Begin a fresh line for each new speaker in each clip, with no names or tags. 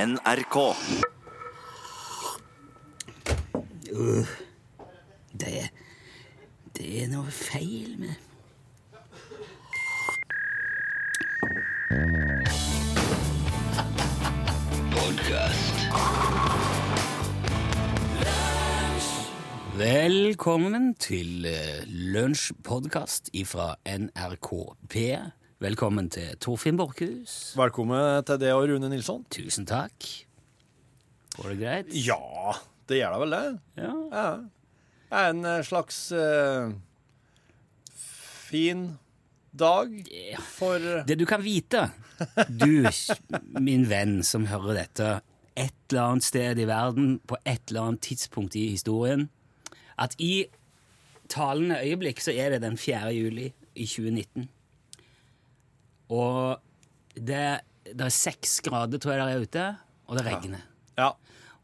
NRK.
Det, det er noe feil med Velkommen til eh, lunsjpodkast ifra NRK P. Velkommen til Torfinn Borchhus.
Velkommen til det og Rune Nilsson.
Tusen takk. Går det greit?
Ja, det gjør da vel det.
Ja.
Ja. Det er en eh, slags eh, fin dag for eh,
Det du kan vite, du, min venn som hører dette, et eller annet sted i verden, på et eller annet tidspunkt i historien, at i talende øyeblikk så er det den 4. juli i 2019. Og det, det er seks grader, tror jeg, der er ute, og det regner.
Ja.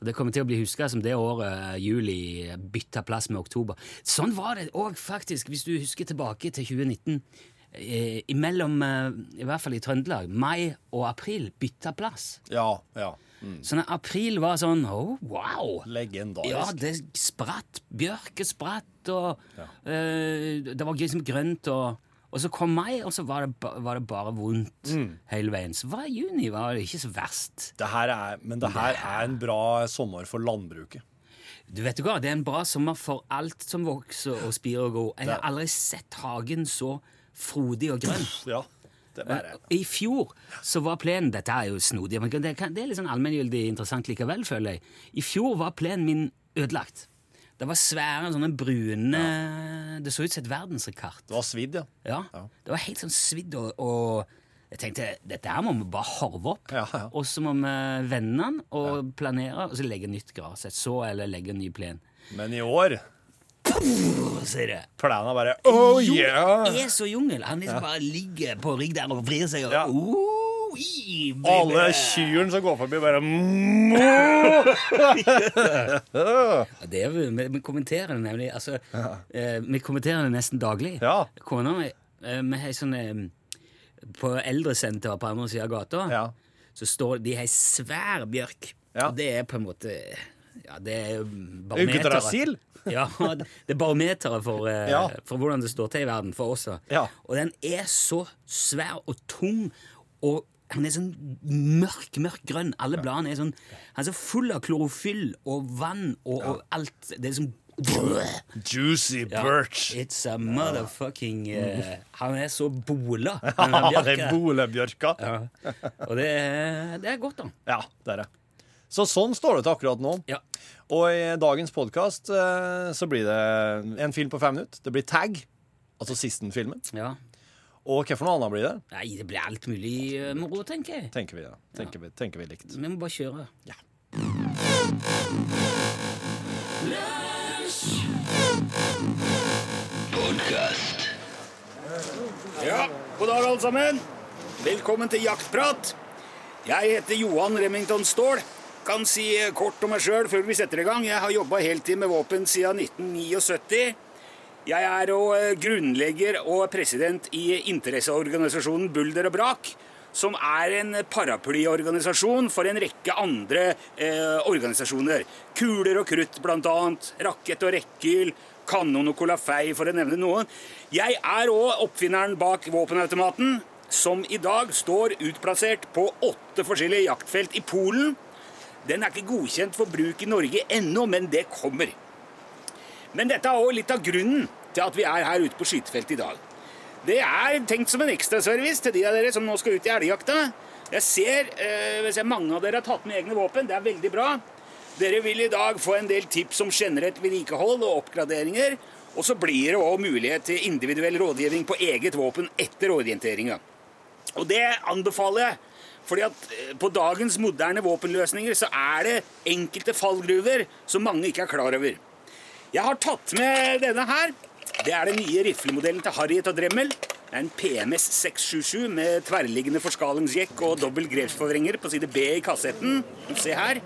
Og Det kommer til å bli huska som det året eh, juli bytta plass med oktober. Sånn var det òg, faktisk, hvis du husker tilbake til 2019. Eh, imellom, eh, i hvert fall i Trøndelag, mai og april bytta plass.
Ja. ja. Mm.
Sånn at april var sånn oh, wow! Ja,
Legendarisk.
det spratt. Bjørke spratt, og eh, det var liksom grønt. Og, og så kom mai, og så var det, ba- var det bare vondt hele veien. Så var det juni var det ikke så verst.
Det her er, men det her er en bra sommer for landbruket.
Du vet jo hva, Det er en bra sommer for alt som vokser og spirer og går. Jeg har aldri sett hagen så frodig og grønn.
Ja, det er bare
I fjor så var plenen Dette er jo snodig, men det, kan, det er litt sånn allmenngyldig interessant likevel, føler jeg. I fjor var plenen min ødelagt. Det var svære, sånne brune Det så ut som et verdensrekord.
Det var svidd, ja.
Ja. Det var helt sånn svidd, og, og jeg tenkte dette her må vi bare harve opp.
Ja, ja.
Og så må vi vende den og planere, og så legge nytt gras. Et så eller legge en ny plen.
Men i år
Og så er det
plena bare Oh
Jungel
yeah!
er så jungel. Han liksom bare ligger på rygg der og vrir seg. Og,
Ja.
oh, i, baby.
Alle kyrne som går forbi, bare mm.
Ja, det er, vi, vi kommenterer det nemlig altså, eh, Vi kommenterer det nesten daglig.
Ja.
Kona mi eh, vi har sånn eh, På eldresenteret på andre siden av gata
Ja.
så står de har ei svær bjørk.
Ja.
Og det er på en måte ja, Det er
Yggdrasil?
barometeret. Ja, det er barometeret for, eh,
Ja.
for hvordan det står til i verden for oss. da.
Ja.
Og den er så svær og tung, og han er sånn mørk, mørk grønn. Alle bladene er sånn Han er så full av klorofyll og vann og, og alt. Det er sånn
Juicy
Ja,
birch.
It's a motherfucking eh, Han er så bola, den
Ja, det er
bjørka.
bolebjørka.
Ja. Og det er, det er godt, da.
Ja, det er det. Så sånn står det til akkurat nå.
Ja.
Og i dagens podkast så blir det en film på fem minutter. Det blir tag, altså sisten filmen.
ja.
Og hva for noe annet blir det?
Nei, det blir alt mulig eh, moro, tenker jeg.
Tenker vi, da. Tenker, vi, tenker vi likt.
Vi må bare kjøre.
Ja.
Ja, god dag alle sammen. Velkommen til Jaktprat. Jeg heter Johan Remington Ståhl. Kan si eh, kort om meg sjøl før vi setter i gang. Jeg har jobba heltid med våpen siden 1979. Jeg er òg eh, grunnlegger og president i interesseorganisasjonen Bulder og Brak. Som er en paraplyorganisasjon for en rekke andre eh, organisasjoner. Kuler og krutt, blant annet. Rakett og rekkyl. Kanon og Colafei, for å nevne noen. Jeg er òg oppfinneren bak våpenautomaten, som i dag står utplassert på åtte forskjellige jaktfelt i Polen. Den er ikke godkjent for bruk i Norge ennå, men det kommer. Men dette er òg litt av grunnen til at vi er her ute på skytefeltet i dag. Det er tenkt som en ekstraservice til de av dere som nå skal ut i elgjakta. Jeg ser, eh, jeg ser mange av dere har tatt med egne våpen. Det er veldig bra. Dere vil i dag få en del tips om generelt vedlikehold og oppgraderinger. Og så blir det òg mulighet til individuell rådgivning på eget våpen etter orienteringa. Og det anbefaler jeg. Fordi at eh, på dagens moderne våpenløsninger så er det enkelte fallgruver som mange ikke er klar over. Jeg har tatt med denne her. Det er den nye riflemodellen til Harriet og Dremmel. Det er en PMS 677 med tverrliggende forskalingsjekk og dobbel grepsforvrenger på side B i kassetten. Se her.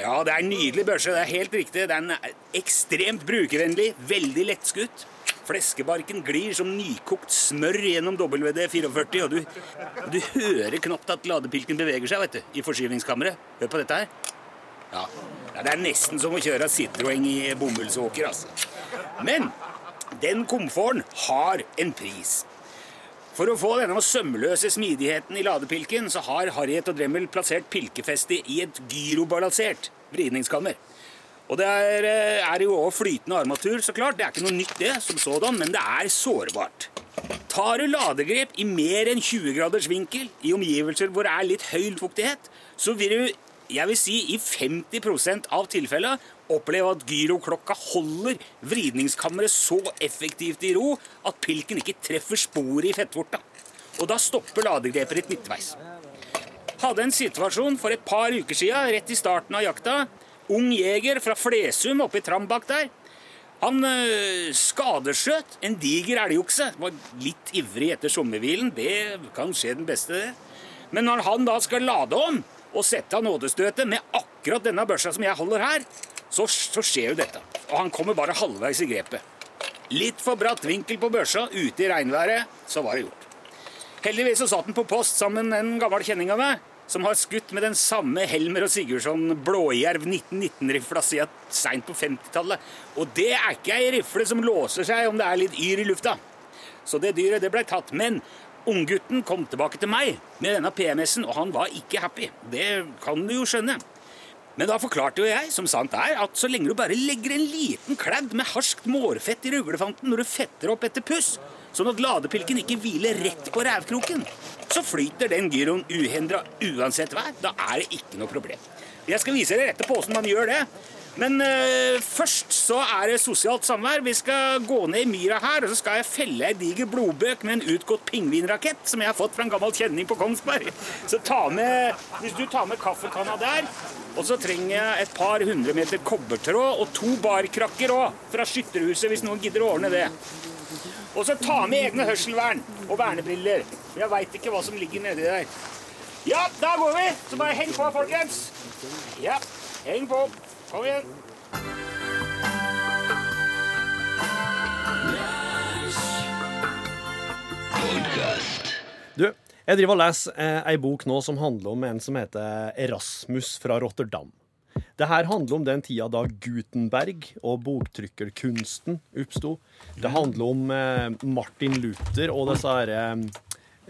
Ja, det er en nydelig børse. Det er helt riktig. Den er ekstremt brukervennlig, veldig lettskutt.
Fleskebarken glir som nykokt smør gjennom WD-44, og du, og du hører knapt at ladepilken beveger seg vet du, i forskyvningskammeret. Hør på dette her. Ja. ja, Det er nesten som å kjøre Citroën i bomullsåker, altså. Men den komforten har en pris. For å få denne sømløse smidigheten i ladepilken, så har Harriet og Dremmel plassert pilkefestet i et gyrobalansert vridningskammer. Og det er, eh, er jo også flytende armatur, så klart. Det er ikke noe nytt, det, som sådan, men det er sårbart. Tar du ladegrep i mer enn 20 graders vinkel i omgivelser hvor det er litt høy fuktighet, så vil du, jeg vil si, i 50 av tilfellene oppleve at gyroklokka holder vridningskammeret så effektivt i ro at pilken ikke treffer sporet i fettvorta. Og da stopper ladegrepet ditt midtveis hadde en situasjon for et par uker siden, rett i starten av jakta. Ung jeger fra Flesum oppe i Trambakk der. Han øh, skadeskjøt en diger elgokse. Var litt ivrig etter sommerhvilen. Det kan skje den beste, det. Men når han da skal lade om og sette av nådestøtet med akkurat denne børsa som jeg holder her, så, så skjer jo dette. Og han kommer bare halvveis i grepet. Litt for bratt vinkel på børsa ute i regnværet, så var det gjort. Heldigvis så satt den på post sammen med en gammel kjenning av meg, som har skutt med den samme Helmer og Sigurdsson Blåjerv 1919-rifla siden seint på 50-tallet. Og det er ikke ei rifle som låser seg om det er litt yr i lufta. Så det dyret det ble tatt. Men unggutten kom tilbake til meg med denne PMS-en, og han var ikke happy. Det kan du jo skjønne. Men da forklarte jo jeg, som sant er, at så lenge du bare legger en liten kladd med harskt mårfett i ruglefanten når du fetter opp etter puss, sånn at ladepilken ikke hviler rett på rævkroken, så flyter den gyroen uhindra uansett vær. Da er det ikke noe problem. Jeg skal vise dere etterpå hvordan man gjør det. Men eh, først så er det sosialt samvær. Vi skal gå ned i myra her, og så skal jeg felle ei diger blodbøk med en utgått pingvinrakett som jeg har fått fra en gammel kjenning på Kongsberg. Så ta med, hvis du tar med kaffekanna der, og så trenger jeg et par hundre meter kobbertråd og to barkrakker òg, fra skytterhuset, hvis noen gidder å ordne det. Og så ta med egne hørselvern og vernebriller. Jeg veit ikke hva som ligger nedi der. Ja, da går vi! Så bare heng på, folkens. Ja, heng på. Kom igjen.
Du, jeg driver og leser eh, ei bok nå som handler om en som heter Erasmus fra Rotterdam. Det her handler om den tida da Gutenberg og boktrykkerkunsten oppsto. Det handler om eh, Martin Luther og disse her,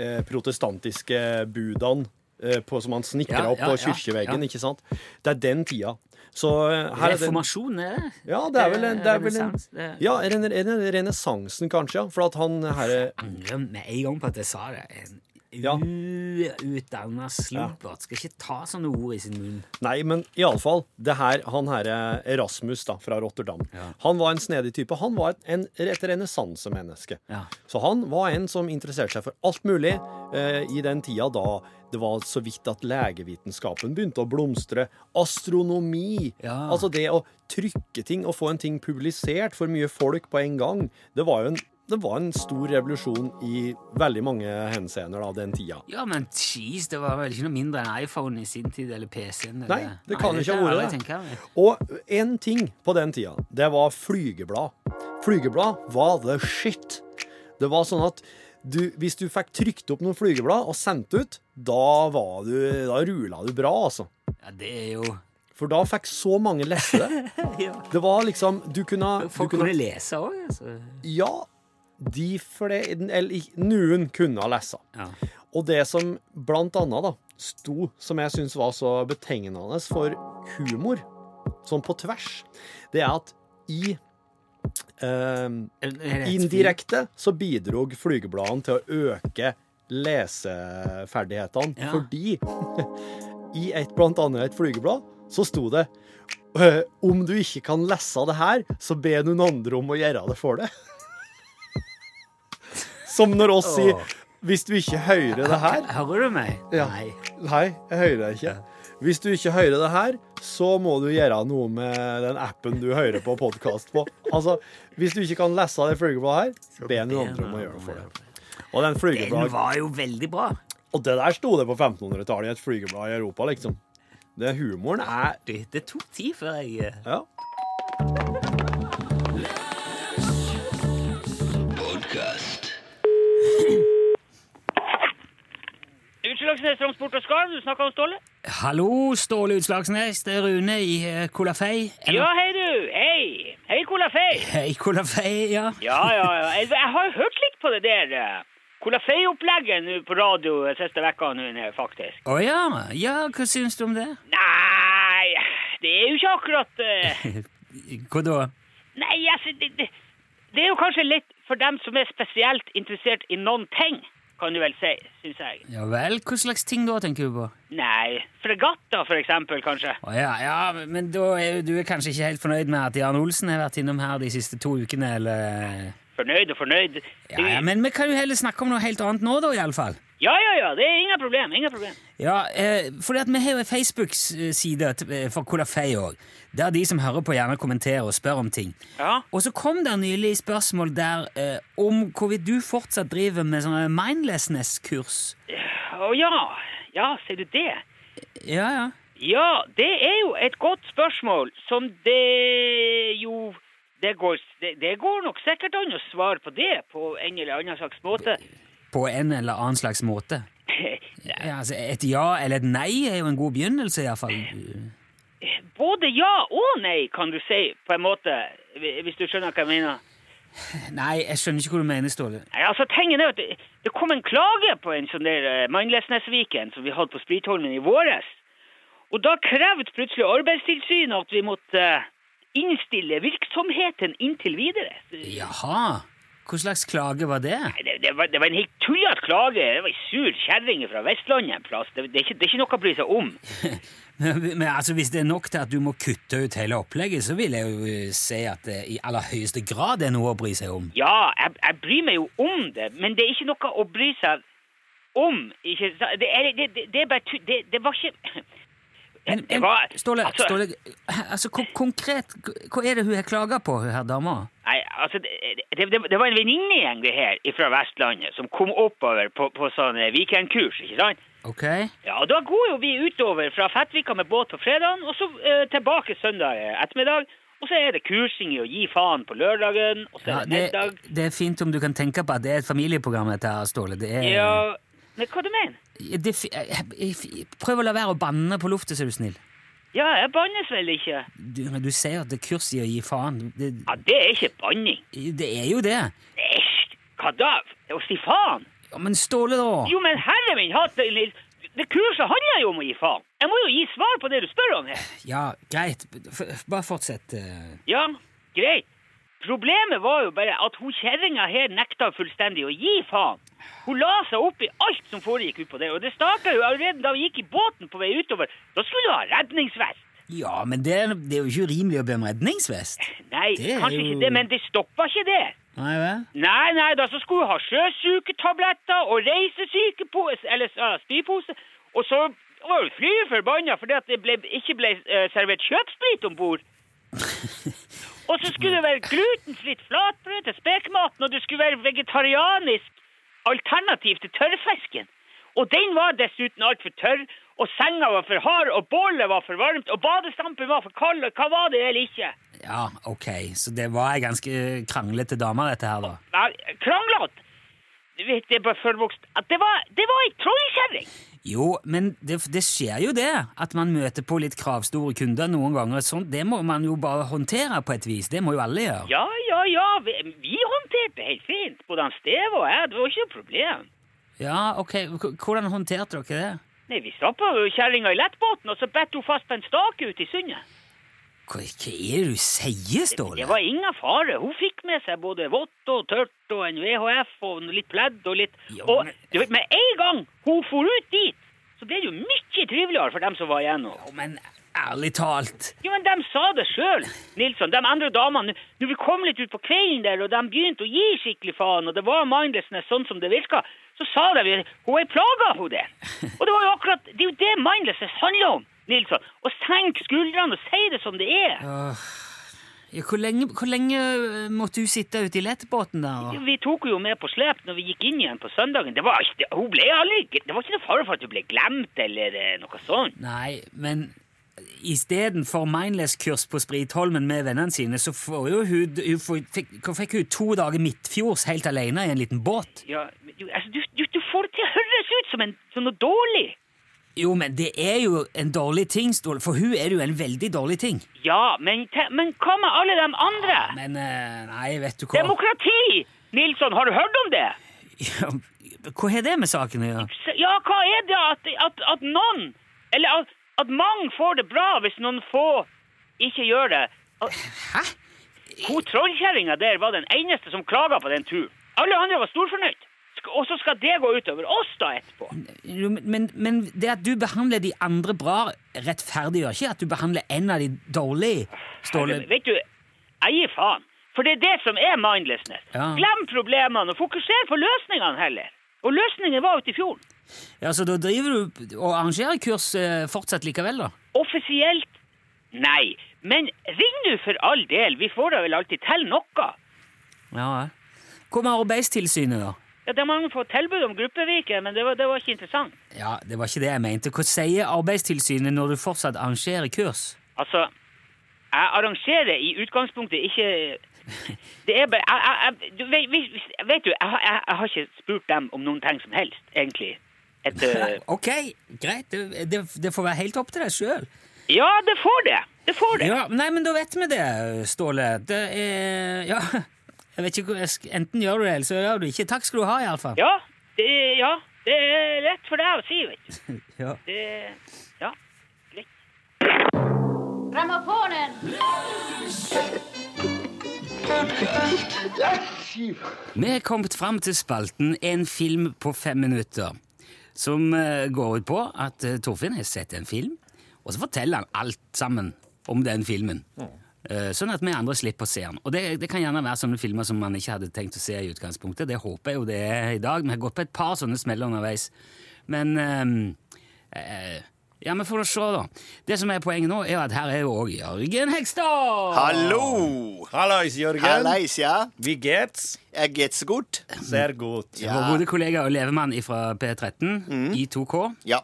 eh, protestantiske budene eh, på, som han snikra
Ja,
opp
ja,
på
ja,
kirkeveggen.
ja.
Ikke sant? Det er den tida. Så eh, her er det
Reformasjon, er det?
ja, det er vel en, det er vel en
Renessanse, det-
Ja, er det en renessansen, kanskje. Ja. For at han her er
angrer Mm, med en gang på at jeg sa det. En
Ja.
uutdanna slumpert skal ikke ta sånne ord i sin munn.
Nei, men iallfall, det her, han her eh, Erasmus da, fra Rotterdam,
Ja.
han var en snedig type. Han var et, en, et renessansemenneske.
Ja.
Så han var en som interesserte seg for alt mulig eh, i den tida da det var så vidt at legevitenskapen begynte å blomstre. Astronomi!
Ja.
Altså det å trykke ting og få en ting publisert for mye folk på en gang. Det var jo en, det var en stor revolusjon i veldig mange henseender da, den tida.
Ja, men jeez, det var vel ikke noe mindre enn iPhone i sin tid, eller PC-en.
Nei,
eller-
det kan
Nei,
ikke ha
kan jeg
vært
aldri
det.
tenke meg.
Og én ting på den tida, det var flygeblad. Flygeblad var the shit. Det var sånn at du, hvis du fikk trykt opp noen flygeblad og sendt ut, da, var du, da rula du bra, altså.
Ja, det er jo
For da fikk så mange lese det. Det var liksom Du kunne, du
Folk kunne lese òg, altså.
Ja, de flere Eller ikke- noen kunne lese.
Ja.
Og det som blant annet da, sto, som jeg syns var så betegnende for humor, sånn på tvers, det er at i eh, indirekte så bidro flygebladene til å øke leseferdighetene,
Ja.
fordi i et blant annet et flygeblad så sto det eh, om du ikke kan lese det her, så be noen andre om å gjøre det for deg. Som når oss sier
Åh.
Hvis du ikke hører det her,
Hører du meg?
Ja.
Nei.
Nei, jeg hører deg ikke. Hvis du ikke hører det her, så må du gjøre noe med den appen du hører på podkast på. Altså, hvis du ikke kan lese det flygebladet her, be noen andre om å gjøre det for deg. Og den
Den
flygeblad,
var jo veldig bra.
og det der sto det på 1500-tallet i et flygeblad i Europa, liksom. Det humoren er
Det, det tok tid før jeg eh,
Ja.
Utslagsnes Transport og Skarv, du snakka om Ståle?
Hallo, Ståle Utslagsnes. Det er Rune i eh, Kolafei. Eller-
Ja, hei du! Hei! Hei, Kolafei!
Hei, Kolafei, ja.
Ja, ja, ja. Jeg, jeg har hørt litt på det der eh, Kolafei-opplegget nå på radio eh, siste vekka nå, eh, faktisk.
Å ja. ja, hva syns du om det?
Nei, det er jo ikke akkurat eh,
Hva da?
Nei, altså, det, det, det er jo kanskje litt for dem som er spesielt interessert i noen ting, kan du vel si, syns jeg.
Ja vel, hva slags ting da, tenker du på?
Nei, fregatta for eksempel, kanskje.
Å ja, ja, men da er du er kanskje ikke helt fornøyd med at Jan Olsen har vært innom her de siste to ukene, eller
Fornøyd og fornøyd.
Ja, ja, men vi kan jo heller snakke om noe helt annet nå, da, iallfall.
ja, ja, ja, det er ingen problem, ingen problem.
Ja, eh, fordi at vi har jo en Facebook-side t- eh, for Kolafei òg, der de som hører på, gjerne kommenterer og spør om ting.
Ja.
Og så kom det nylig spørsmål der eh, om hvorvidt du fortsatt driver med sånne mindlessness-kurs.
Å ja, ja, ser du det?
Ja, ja.
Ja, det er jo et godt spørsmål som det jo det går, det, det går nok sikkert an å svare på det på en eller annen slags måte.
På en eller annen slags måte. Ja, altså, et ja eller et nei er jo en god begynnelse, iallfall.
Både ja og nei, kan du si, på en måte, hvis du skjønner hva jeg mener.
Nei, jeg skjønner ikke hva du mener, Ståle.
Nei, altså, tingen er at det, det kom en klage på en sånn der eh, Mindlessnesviken som vi hadde på Spritholmen i våres. Og da krevde plutselig Arbeidstilsynet at vi måtte eh, innstille virksomheten inntil videre.
Jaha. Hva slags klage var det?
Nei, Det, det, var, det var en helt tullete klage. Det var ei sur kjerring fra Vestlandet en plass. Det, det, er ikke, det er ikke noe å bry seg om.
Men, men altså, Hvis det er nok til at du må kutte ut hele opplegget, så vil jeg jo eh, si at det i aller høyeste grad er noe å bry seg om.
Ja, jeg, jeg bryr meg jo om det, men det er ikke noe å bry seg om. Ikke, sa- det, er, det, det, det er bare tu- det, det var ikke
Men,
Det
men
var-
Ståle,
altså-
Ståle altså, ko- konkret, hva er det hun har klaga på, hun her dama?
Nei, altså, det, det, det, det var en venninnegjeng det her fra Vestlandet som kom oppover på, på sånn eh, weekendkurs, ikke sant?
Ok?
Ja, og da går jo vi utover fra Fettvika med båt på fredagen, og så eh, tilbake søndag eh, ettermiddag. Og så er det kursing i å gi faen på lørdagen, og så
Ja,
er det
det,
middag.
det er fint om du kan tenke på at det er et familieprogram, dette her, Ståle. Det er,
Ja, men hva du mener?
det, er fi- eh, eh, prøv å la være å banne på luftet, så er du snill.
Ja, jeg bannes vel ikke.
Du, men du sier at det er kurs i å gi faen. Det,
Ja, det er ikke banning.
det er jo det.
Æsj, hva da? Å si faen?
Ja, men Ståle, da?
Jo, men herre min hatt, Nils. Det kurset handler jo om å gi faen. Jeg må jo gi svar på det du spør om her.
Ja, greit. F- Bare fortsett. eh.
Ja, greit. Problemet var jo bare at hun kjerringa her nekta fullstendig å gi faen. Hun la seg opp i alt som foregikk utpå der, og det starta jo allerede da hun gikk i båten på vei utover. Da skulle hun ha redningsvest.
Ja, men det, er- det er jo ikke urimelig å be om redningsvest.
Nei,
Det er
kanskje
jo-
ikke det, men det stoppa ikke det.
Nei vel?
Nei, nei, da så skulle hun ha sjøsyketabletter og reisesykepo- eller ja, spypose. Og så var jo flyet forbanna fordi at det ble, ikke ble eh, servert kjøpsprit om bord. og så skulle det være glutenfritt flatbrød til spekematen, og det skulle være vegetarianisk alternativ til tørrfisken. Og den var dessuten altfor tørr, og senga var for hard, og bålet var for varmt, og badestampen var for kald, og hva var det eller ikke?
Ja, ok. Så det var ei ganske kranglete dame, dette her, da.
Nei, kranglete. Du vet, det er bare forvokst at det var, det var ei trollkjerring!
Jo, men det, det skjer jo det, at man møter på litt kravstore kunder noen ganger. Sånn, det må man jo bare håndtere på et vis. Det må jo alle gjøre.
Ja, ja, ja, vi, vi håndterte det helt fint. Både han Steve og jeg, det var ikke noe problem.
Ja, ok. H- Hvordan håndterte dere det?
Nei, vi stappa kjerringa i lettbåten, og så bet hun fast på en stake ute i sundet.
Hva, hva er det du sier, Ståle?
Det var ingen fare. Hun fikk med seg både vått og tørt og en VHF og litt pledd og litt
Ja,
Og
men-
du vet, med en gang hun for ut dit, så ble det jo mye triveligere for dem som var igjen nå.
Jo, Men ærlig talt
Jo, men de sa det sjøl, Nilsson. De andre damene. Når vi kom litt ut på kvelden der, og de begynte å gi skikkelig faen, og det var mindlessness sånn som det virka, så sa de jo hun er plaga, hun der. Og det var jo akkurat det er jo det mindlessness handler om, Nilsson. Å senke skuldrene og si det som det er.
ja, hvor, lenge, hvor lenge eh, måtte du sitte ute i lettbåten der? og-
Vi tok henne jo med på slep når vi gikk inn igjen på søndagen. Det var ikke, hun ble aldri, det var ikke noe fare for at hun ble glemt eller eh, noe sånt.
Nei, men istedenfor mindless-kurs på Spritholmen med vennene sine, så får jo hun, hun får, fikk, fikk hun to dager midtfjords helt alene i en liten båt.
Ja, men du, altså, du, du, du får får det til å høres ut som, en, som noe dårlig.
Jo, men det er jo en dårlig ting, Ståle. For hun er det jo en veldig dårlig ting.
Ja, men, te, men hva med alle de andre?
Men eh, nei, vet du hva
Demokrati! Nilsson, har du hørt om det?
Ja, Hva har det med saken å gjøre?
Så, ja, hva er det at, at, at noen Eller at, at mange får det bra hvis noen få ikke gjør det? At-
Hæ?
Hun trollkjerringa der var den eneste som klaga på den turen. Alle andre var storfornøyd. Sk- Og så skal det gå utover oss da etterpå.
Jo, Men, men det at du behandler de andre bra, rettferdiggjør ikke at du behandler en av de dårlig, Ståle.
Vet du, jeg gir faen. For det er det som er mindlessness.
Ja.
Glem problemene og fokuser på løsningene heller. Og løsningen var ute i fjorden.
Ja, Så da driver du og arrangerer kurs eh, fortsatt likevel, da?
Offisielt nei. Men ring nå for all del, vi får da vel alltid til noe.
Ja, ja. Hva med Arbeidstilsynet, da?
Ja, De har fått tilbud om gruppevike, men det var, det var ikke interessant.
Ja, Det var ikke det jeg mente. Hva sier Arbeidstilsynet når du fortsatt arrangerer kurs?
Altså, jeg arrangerer i utgangspunktet ikke Det er bare jeg, jeg, jeg, du, vet, hvis- vet du, jeg, har- jeg, jeg har ikke spurt dem om noen ting som helst, egentlig. Et, eh,
Ok, greit. Det, det, det får være helt opp til deg sjøl.
ja, det får det. Det får det.
Ja, nei, men da vet vi det, Ståle. Det er Ja. Jeg vet ikke, hva jeg sk- Enten gjør du det, eller så gjør du det ikke. Takk skal du ha, iallfall.
Ja, det, ja, det er lett for deg å si, vet du.
Ja.
Det, ja, greit.
Grammofonen!
Vi er kommet fram til spalten En film på fem minutter, som eh, går ut på at eh, Torfinn har sett en film, og så forteller han alt sammen om den filmen. Eh, Sånn at vi andre slipper å se den. Og det, det kan gjerne være sånne filmer som man ikke hadde tenkt å se i utgangspunktet. Det håper jeg jo det er i dag. Vi har gått på et par sånne smeller underveis. Men eh, eh, Ja, vi får da se, da. Det som er poenget nå, er jo at her er jo òg Jørgen Hegstad!
Hallo!
Hallais, Jørgen.
Hallais, ja.
Vi gets.
Jeg gets godt.
Ser godt.
Ja.
Vår gode kollega og levemann fra P13 i 2K.
Ja.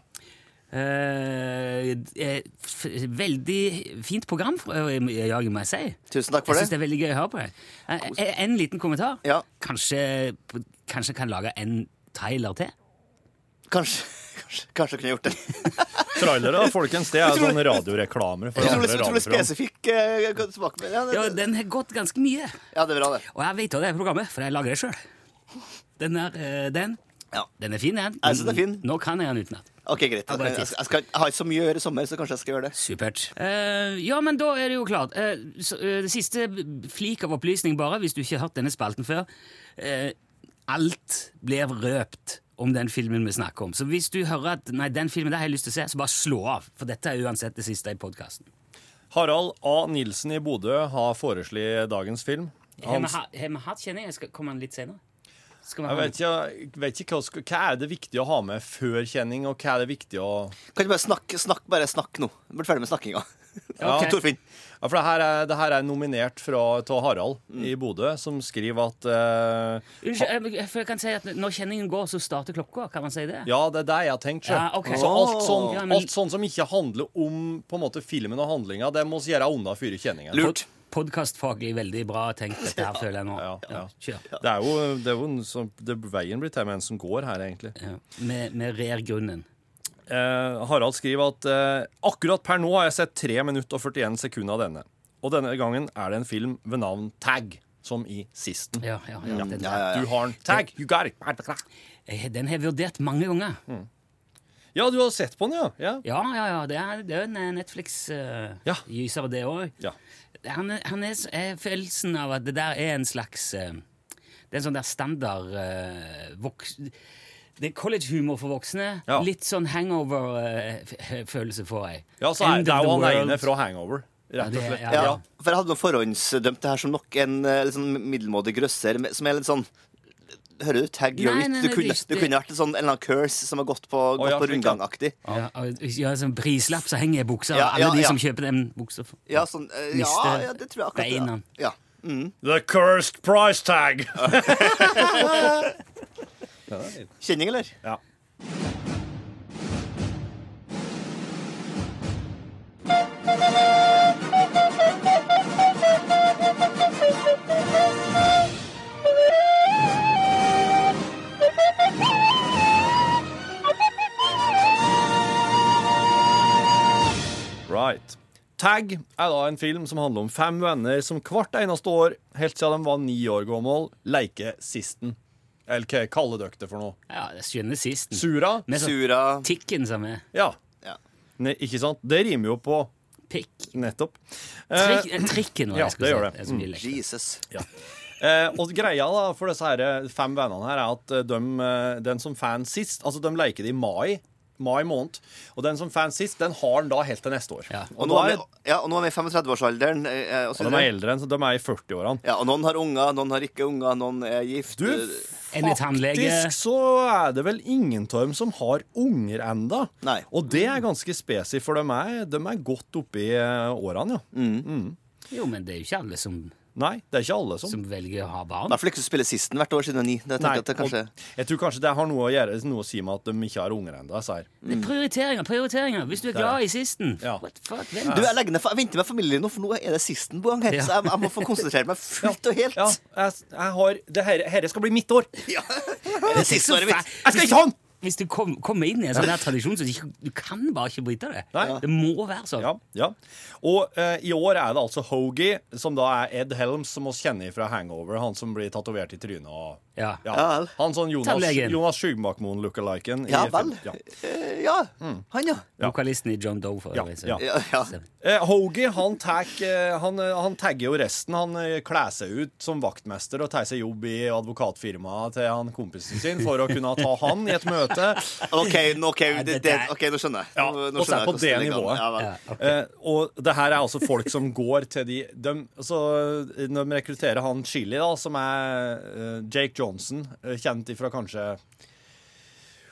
Eh, eh, f veldig fint program, for- eh, Jørgen, må jeg si.
Tusen takk for
Jeg synes det
det.
er veldig gøy å høre på det. Eh, eh, en liten kommentar.
Ja.
Kanskje, kanskje kan lage en trailer til?
Kanskje, kanskje, kanskje jeg kunne gjort det.
Trailere, folkens, det er sånne radioreklamer for
Utrolig,
andre
utrolig
radioprogram.
spesifikk eh, tilbakemelding. Ja,
Ja,
det-
den har gått ganske mye.
ja, det er bra, det.
Og jeg vet av det programmet, for jeg lager det sjøl. Den, der, eh, den,
Ja.
den er fin, den.
Jeg synes den er fin.
Nå kan jeg den utenat.
Ok, greit.
Ja, bare
Jeg,
tiss.
jeg, skal, jeg har ikke så mye å gjøre i sommer, så kanskje jeg skal gjøre det.
Supert. Eh, ja, men da er det jo klart. Eh, så, eh, det siste flik av opplysning bare, hvis du ikke har hørt denne spalten før. Eh, alt blir røpt om den filmen vi snakker om. Så hvis du hører at nei, den filmen der har jeg lyst til å se, så bare slå av. For dette er uansett det siste i podkasten.
Harald A. Nilsen i Bodø har foreslått dagens film.
Har vi
Hans,
ha- har vi hatt kjenning? Jeg skal komme den litt senere. Skal vi
jeg
ha
vet ikke, jeg vet ikke hva, sk- hva er det viktig å ha med før kjenning, og hva er det viktig å
Kan du bare snakke, snakk, bare snakk nå? Jeg Blir ferdig med snakkinga.
Ja,
Ok.
Torfinn.
Ja, for det her er, det her er nominert fra av Harald
Mm.
i Bodø, som skriver at eh,
Unnskyld, jeg, for jeg kan si at når kjenningen går, så starter klokka. Kan man si det?
Ja, det er det jeg har tenkt. sjø.
Ja, ok.
Så alt sånn,
Ja, men-
alt sånn som ikke handler om på en måte filmen og handlinga, det må vi gjøre unna før kjenningen.
Lurt.
Podkastfaglig veldig bra tenkt, dette her, føler jeg nå.
Ja, ja.
kjør.
Det er jo, det er jo en som, det, Veien blir til med en som går her, egentlig.
Ja. Vi vi rer grunnen.
Eh, Harald skriver at eh, akkurat per nå har jeg sett 3 minutter og 41 sekunder av denne. Og denne gangen er det en film ved navn Tag, som i sisten.
Ja, ja, ja, den der.
ja, ja.
Du har den. Tag, you got it.
Eh, Den har jeg vurdert mange ganger.
Mm. Ja, du har sett på den, ja. ja.
Ja, ja, ja, det er, det er en eh,
Ja.
Netflix-gyser, det òg.
Ja.
Han, er- han er, så- er følelsen av at det der er en slags eh, Det er en sånn der standard eh, voks, Det er collegehumor for voksne.
Ja.
Litt sånn hangover-følelse får jeg.
ja så er,
End
det
of
er
the
jo han
world.
ene fra Hangover.
Ja,
Rett
det
og
er-
slett.
ja,
Ja,
ja.
for jeg hadde noen forhåndsdømt det her som nok en eh, litt sånn middelmådig grøsser med- som er litt sånn Hører du? Tag
Nei,
gjør
nei,
it. Du
nei,
kunne,
det-
du kunne vært en sånn, en eller annen curse som har gått på, gått
ja,
på
slik, ja.
rundgangaktig.
Ja, og- ja, sånn prislapp, så henger jeg i buksa.
Ja,
og alle
ja,
de
ja.
som kjøper den buksa for-
Ja, sånn, eh, ja,
Mister
ja, det tror jeg akkurat.
beina.
Ja. Mm.
The cursed price tag.
Kjenning, eller?
Ja. Right. Tag er da en film som handler om fem venner som hvert eneste år, helt siden de var ni år gammel, leker sisten. Eller hva kaller dere det for noe?
Ja, det skjønner sisten.
Sura?
Med sånn
Sura
tikken som er
Ja.
ja.
Ne, ikke sant? Det rimer jo på
pikk.
nettopp. Eh,
Trik, trikken, var
ja,
det jeg skulle
det
si.
gjør det. Mm.
er så mye lekk.
Jesus.
Eh, og greia da for disse her eh, fem vennene her er at eh, dem, eh, den som fan sist Altså, de leker det i mai. Mai måned. Og den som fan sist, den har den da helt til neste år.
Ja.
Og
Og,
nå
da
er
er,
vi, ja, og nå er vi i 35-årsalderen. eh, eh, og så
og de er
videre.
eldre enn, så de er i 40-årene.
Ja, og noen har unger, noen har ikke unger, noen er gift.
Du,
eh,
Enn i tannlege.
faktisk så er det vel ingen av dem som har unger enda.
Nei.
Og det er ganske spesifikt, for de er, de er godt oppi eh, årene, ja.
Mm.
Jo, men det er jo ikke alle som,
Nei, det er ikke alle som
som velger å ha
I
barn.
hvert fall ikke som spiller sisten hvert år siden ni. Det,
Nei,
tenker jeg at det kanskje...
og jeg tror kanskje det har noe å gjøre Noe å si med at de ikke har unger ennå.
Det er prioriteringer, prioriteringer. Hvis du er glad i sisten
Ja.
What the fuck, vent.
Du, jeg, legger ned, fa- jeg venter med familien nå, for nå er det sisten på gang her.
Ja.
Så jeg, jeg må få konsentrere meg fullt og helt.
Ja, jeg, jeg har det her, herre skal bli mitt år! Jeg
Ja. Er det siste året mitt?
skal ikke ha den!
Hvis du kom, kommer inn i en sånn der tradisjon, så du, ikke- du kan bare ikke bryte det.
Nei.
Det må være sånn.
Ja, ja. Og eh, i år er det altså Hoagie, som da er Ed Helms, som oss kjenner fra Hangover. Han som blir tatovert i trynet og
Ja.
Ja vel.
Han sånn Jonas,
Tannlegen.
Jonas Skyggemarkmoen lookaliken. i
Ja
film-
vel. Eh, Ja.
Mm.
Han, ja.
Vokalisten i John Doe, for
Ja,
øvrig. så-
ja.
Ja, ja.
så-
Eh, Hoagie han, tek, eh, han, eh, han tagger jo resten. Han eh, kler seg ut som vaktmester og tar seg jobb i advokatfirmaet til han kompisen sin for å kunne ta han i et møte.
OK, nå, ok, det, det,
der-
ok, nå skjønner jeg.
Ja,
Nå, nå
og så
skjønner
er
jeg
på det
hvordan går.
nivået.
Ja, vel.
Ja.
Eh, og det her er altså folk som går til de, dem- så eh, Når de rekrutterer han Chili, da, som er eh, Jake Johnson, eh, kjent ifra kanskje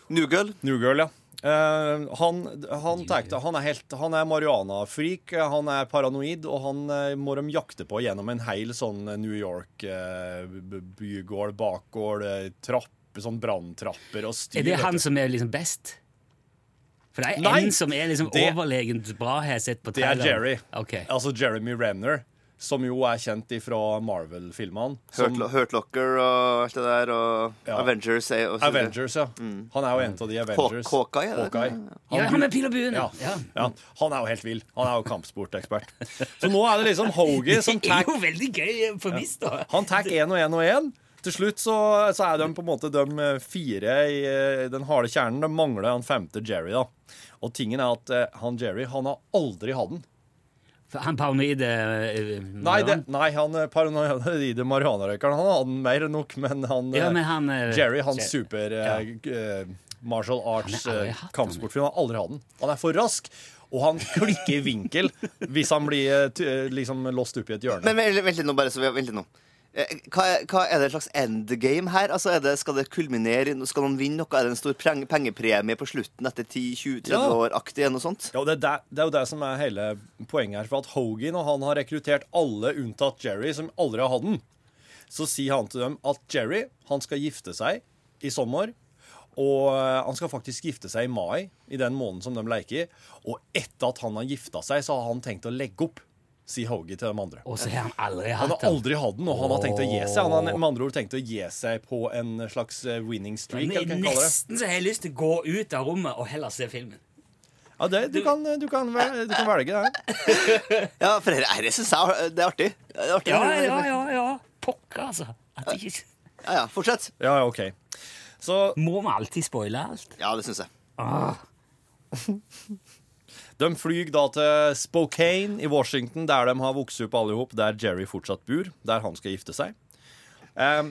New Girl.
New Girl, ja. Eh, han, han, tenkte, han er, helt- han er marihuana-freak, eh, han er paranoid, og han eh, må de jakte på gjennom en hel sånn New York eh, b- bygård, bakgård, eh, trapp, sånn branntrapper og styr.
Er det
vet
han
du.
som er liksom best? For det er
Nei,
en som er liksom
det-
overlegent bra, har jeg sett på
Det er
traileren.
Jerry.
Ok.
Altså Jeremy Renner, som jo er kjent ifra Marvel-filmene. som-
Hurt, Lo- Hurt Locker og alt det der, og
Ja.
Avengers er jo
Avengers, ja. Mm. Han er jo en av de Avengers.
Haw- Hawkeye, er det?
Ja, han med pil og buen.
Ja.
Ja. Ja.
Ja. Han er jo helt vill. Han er jo kampsportekspert. Så nå er det liksom Hoagie som
Det er
tar
jo veldig gøy for visst, da.
Han tar én og én og én. Til slutt så, så er de på en måte de fire i eh, den harde kjernen. De mangler han femte Jerry, da. Og tingen er at eh, han Jerry han har aldri hatt den.
For Han paranoide eh,
Nei, det,
Marion.
nei han eh, paranoide marihuanarøykeren han hadde den mer enn nok, men han, eh,
Ja, men han, eh,
Jerry, han
Jerry.
super eh, g- eh, martial arts
Han har aldri
eh,
hatt den.
kampsportfilm, han har aldri hatt den. Han er for rask, og han klikker i vinkel hvis han blir eh, t eh, liksom låst opp i et hjørne.
Men vent, vent litt nå, bare. Så, vi- vent litt nå. Eh, Hva er, hva er det et slags endgame her? Altså, er det, Skal det kulminere? i- Skal noen vinne noe? Er det en stor preng- pengepremie på slutten etter 10-20-30
Ja.
år aktig? Noe sånt?
Ja, og det, er der, det er jo det som er hele poenget her. For at Hogan og han har rekruttert alle unntatt Jerry, som aldri har hatt den. Så sier han til dem at Jerry han skal gifte seg i sommer. Og eh, han skal faktisk gifte seg i mai, i den måneden som de leker i. Og etter at han har gifta seg, så har han tenkt å legge opp, sier Hoagie til de andre.
Og så har han aldri hatt
Han har
den.
aldri hatt den, og han har tenkt å gi seg. Han har med andre ord tenkt å gi seg på en slags eh, winning streak.
Men
Eller hva man kaller det.
Nesten så har jeg lyst til å gå ut av rommet og heller se filmen.
Ja, det, du, kan, eh, du, kan, vel- du kan velge det.
Ja, for dette her syns jeg det er artig. Det er artig.
Ja, ja, ja. ja. Pokker, altså. At det ikke
ja, ja. Fortsett.
Ja, ja, OK. Så
Må vi alltid spoile alt? Ah,
Ja, det syns jeg.
De flyr da til Spokane i Washington, der de har vokst opp alle ihop, der Jerry fortsatt bor, der han skal gifte seg. Ehm,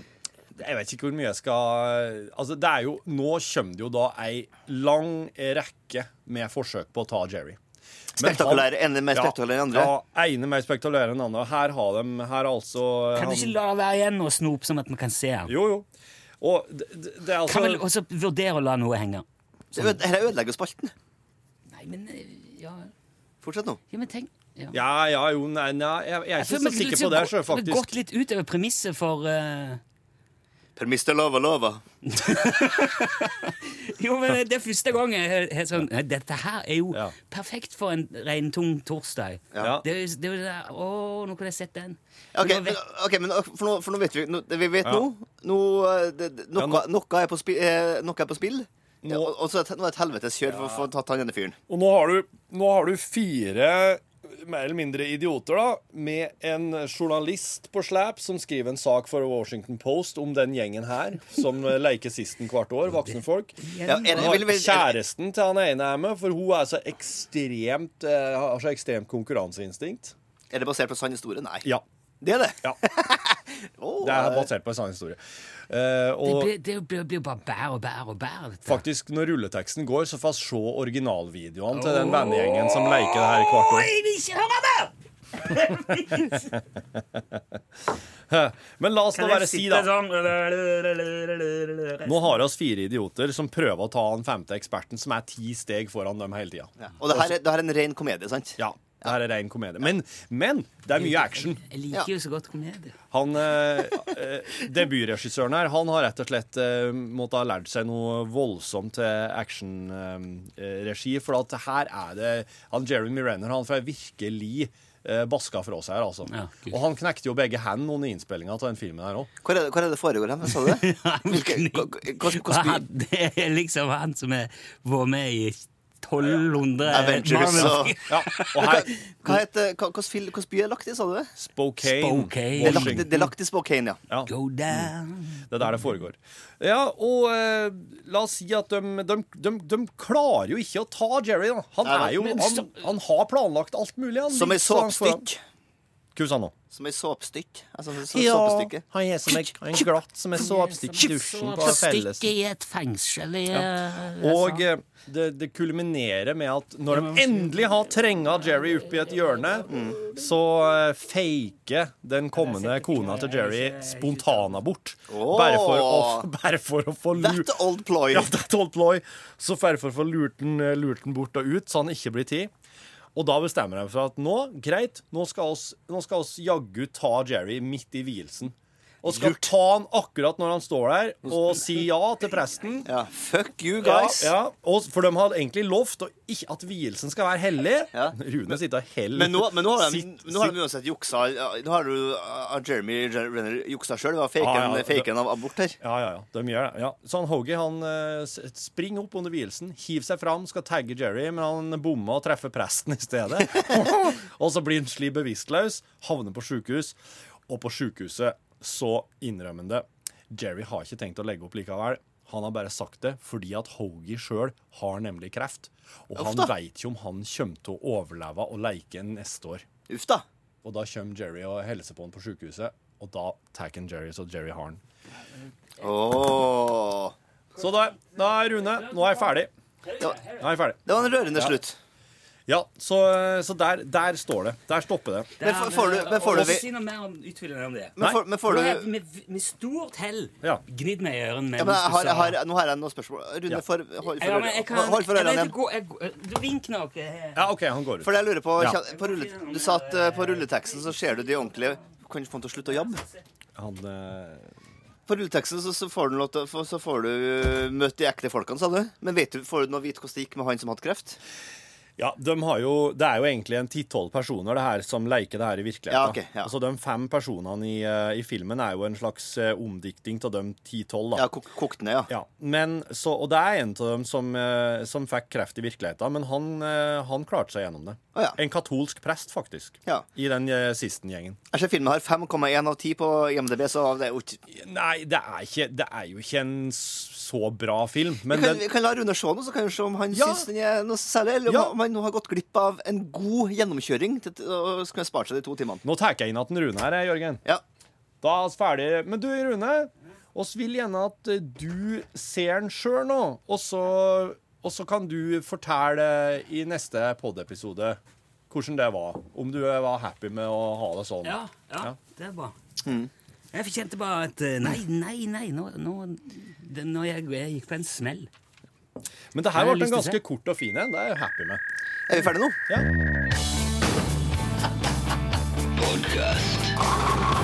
jeg vet ikke hvor mye jeg skal Altså, det er jo Nå kommer det jo da ei lang rekke med forsøk på å ta Jerry. Men han-
Spektakulære. Ene mer spektakulære enn andre.
Ja, ene mer spektakulære enn andre. Her har de Her er altså
Kan du ikke la det være igjen og snope, sånn at vi kan se den?
Jo, jo. Og det, det det er altså
Kan vel også vurdere å la noe henge?
Det øde- Dette ødelegger jo spalten.
Nei, men eh, Ja,
Fortsett nå.
ja men tenk ja.
Ja, ja, jo, nei, nei jeg, jeg er ikke
føler
så
vi-
sikker på det, sjøl,
Vi har gått
faktisk.
litt utover premisset for eh,
Per Mr. Lova Lova.
Jo, men det er første gang jeg har- har sånn nei, Dette her er jo
Ja.
perfekt for en regntung torsdag.
Ja.
Det er jo det er jo det der Å, nå kunne jeg sett den.
Ok,
Nå
men,
vet-
ok, men for, nå, for nå vet vi nå, det Vi vet
Ja.
nå, nå eh, det, det, noe,
Ja, nå-
noe, er på spi, eh, noe er på spill. Ja, og, og så er det et- nå er det et helvetes kjør for å få tatt han ene fyren.
Og nå har, du, nå har du fire mer eller mindre idioter, da, med en journalist på slep som skriver en sak for Washington Post om den gjengen her, som leker sisten hvert år, voksne folk.
Ja, er det-
Og
vil- vil-
Kjæresten til han ene er med, for hun er så ekstremt, eh, har så ekstremt konkurranseinstinkt.
Er det basert på sann historie? Nei.
Ja.
Det er det.
ja.
Å,
Det er
eh,
basert på en sann historie. Eh,
Det
og
blir, det blir, blir bare bær og bær og bær. dette.
faktisk, når rulleteksten går, så får vi se originalvideoene til den vennegjengen som leker det her hvert år.
Jeg vil ikke høre mer!
Men la oss nå bare si, da.
sånn
Nå har oss fire idioter som prøver å ta han femte eksperten, som er ti steg foran dem hele tida.
ja. Og det her, er, det her er en ren komedie, sant?
Ja, det her er rein komedie. Men, men det er mye action.
Jeg liker jo så godt komedie.
Han, eh, eh, Debutregissøren her han har rett og slett eh, måttet ha lært seg noe voldsomt til actionregi. for at her er det han Jeremy Renner han får virkelig eh, baska fra seg her, altså.
Ja, gud.
og han knekte jo begge hendene under innspillinga av den filmen her òg.
Hvor er det, hvor er det foregår hen? Sa du det? Hvilke- hva- hva- hva- hva-
Han- Det er liksom han som er, var med i 1200
Avengers
Marvel-
og
Ja, og her
Hva heter hva- hvilken fil- hvilken by er lagt i, sa du det?
Spokane.
Spokane.
Det er lagt,
Washington.
det er lagt i Spokane, ja.
Ja.
Go down.
Mm.
Det er der det foregår. Ja, og eh, la oss si at de, de, de, de klarer jo ikke å ta Jerry. Da. Han
Nei,
er jo
men
han, han har planlagt alt mulig. Han,
Som ei
Litt sånn foran-
såpestykk.
Kus han nå.
Som ei såpestykk. Altså, så, så, såpestykke.
han er som en glatt som et såpestykke i dusjen på
Stikk i et fengsel altså. i
Og eh, det, det kulminerer med at når de endelig har trenga Jerry opp i et hjørne, så eh, faker den kommende kona til Jerry spontanabort. Bare, for å- bare for å få lurt
That old ploy.
Ja, det er tolv ploy. Så derfor får lurt den eh, lurt den bort og ut, så han ikke blir tid. Og da bestemmer de for at nå, greit, nå skal oss, nå skal oss jaggu ta Jerry midt i vielsen. Og skal ta han akkurat når han står der, og si ja til presten.
Ja, fuck you
Ja,
guys.
ja. Og, for de hadde egentlig lovt å ikke, at vielsen skal være hellig.
Ja.
Rune sitter og heller.
Men nå, men nå har de,
Sitt-
nå har de uansett juksa ja, Nå har du uh, Jeremy Renner juksa sjøl ved å fake
Ah, Ja, ja,
en-
det-
fake en av abort her.
Ja, ja, ja, de gjør det. Ja. Så han Hoagie han eh, s- springer opp under vielsen, hiver seg fram, skal tagge Jerry, men han bommer og treffer presten i stedet. og så blir han slik bevisstløs, havner på sjukehus, og på sjukehuset så innrømmer han det. Jerry har ikke tenkt å legge opp likevel. Han har bare sagt det fordi at Hoagie sjøl har nemlig kreft. Og han
da.
veit ikke om han kommer til å overleve og leke neste år.
Uff da.
Og da kommer Jerry og hilser på han på sjukehuset, og da tar han Jerry, så Jerry har han.
Åh.
Så da, da er Rune, nå er jeg ferdig. Nå er jeg ferdig.
Det var en rørende slutt.
Ja, så, så der, der står det. Der stopper det.
Men får- får du- men får du-
Si noe mer om utfyllende om det.
Men,
Nei.
får- men får
Nå
du
har jeg med, med stort hell
Ja.
gnidd meg i ørene
ja,
mens
men jeg har,
du
jeg
sa
har, Nå har jeg noen spørsmål. Rune,
Ja.
for, hold,
ja, men jeg
for,
kan,
hold for
jeg
ørene
vet
igjen.
ikke hvor- jeg- Du vink nå. ok?
Ja, OK, han går ut.
For det jeg lurer på,
Ja.
kjen- på rulle, Du sa at eh, på rulleteksten så ser du de ordentlige Kan du få han til å slutte å jobbe?
Han, eh,
På rulleteksten så, så får du, lov til å- for- så får du eh, møte de ekte folkene, sa du. Men vet du, får du noe vite hvordan det gikk med han som hadde kreft?
ja, de har jo, det er jo egentlig en ti-tolv personer det her som leker det her i virkeligheten.
Ja, ok, ja.
Altså, De fem personene i, eh, i filmen er jo en slags eh, omdikting av de ti-tolv.
Ja, kok- kokt ned, ja.
Ja, men så, Og det er en av dem som, eh, som fikk kreft i virkeligheten, men han, eh, han klarte seg gjennom det.
Å, ja.
En katolsk prest, faktisk,
Ja.
i den eh, siste gjengen.
Jeg ser filmen har 5,1 av 10 på IMDb, så det er jo ikke
Nei, det er, ikke, det er jo ikke en s- så bra film, men
kan,
den
Vi kan la Rune se den, så kan vi se om han
Ja.
syns den er noe særlig, eller om,
Ja.
om han nå har gått glipp av en god gjennomkjøring til, og skulle ha spart seg de to timene.
Nå tar jeg inn at den Rune her, jeg, Jørgen.
Ja.
Da er vi ferdige. Men du, Rune, oss vil gjerne at eh, du ser den sjøl nå, og så, og så kan du fortelle i neste pod-episode hvordan det var. Om du eh, var happy med å ha det sånn.
Ja, ja, det er bra.
Mm.
Jeg kjente bare at eh, Nei, nei, nei. Nå, nå, det, nå jeg, jeg gikk på en smell.
Men det her
Jeg har
ble en
lyst til
ganske kort og fin en. Det er jeg happy med.
Er vi ferdige nå?
Ja.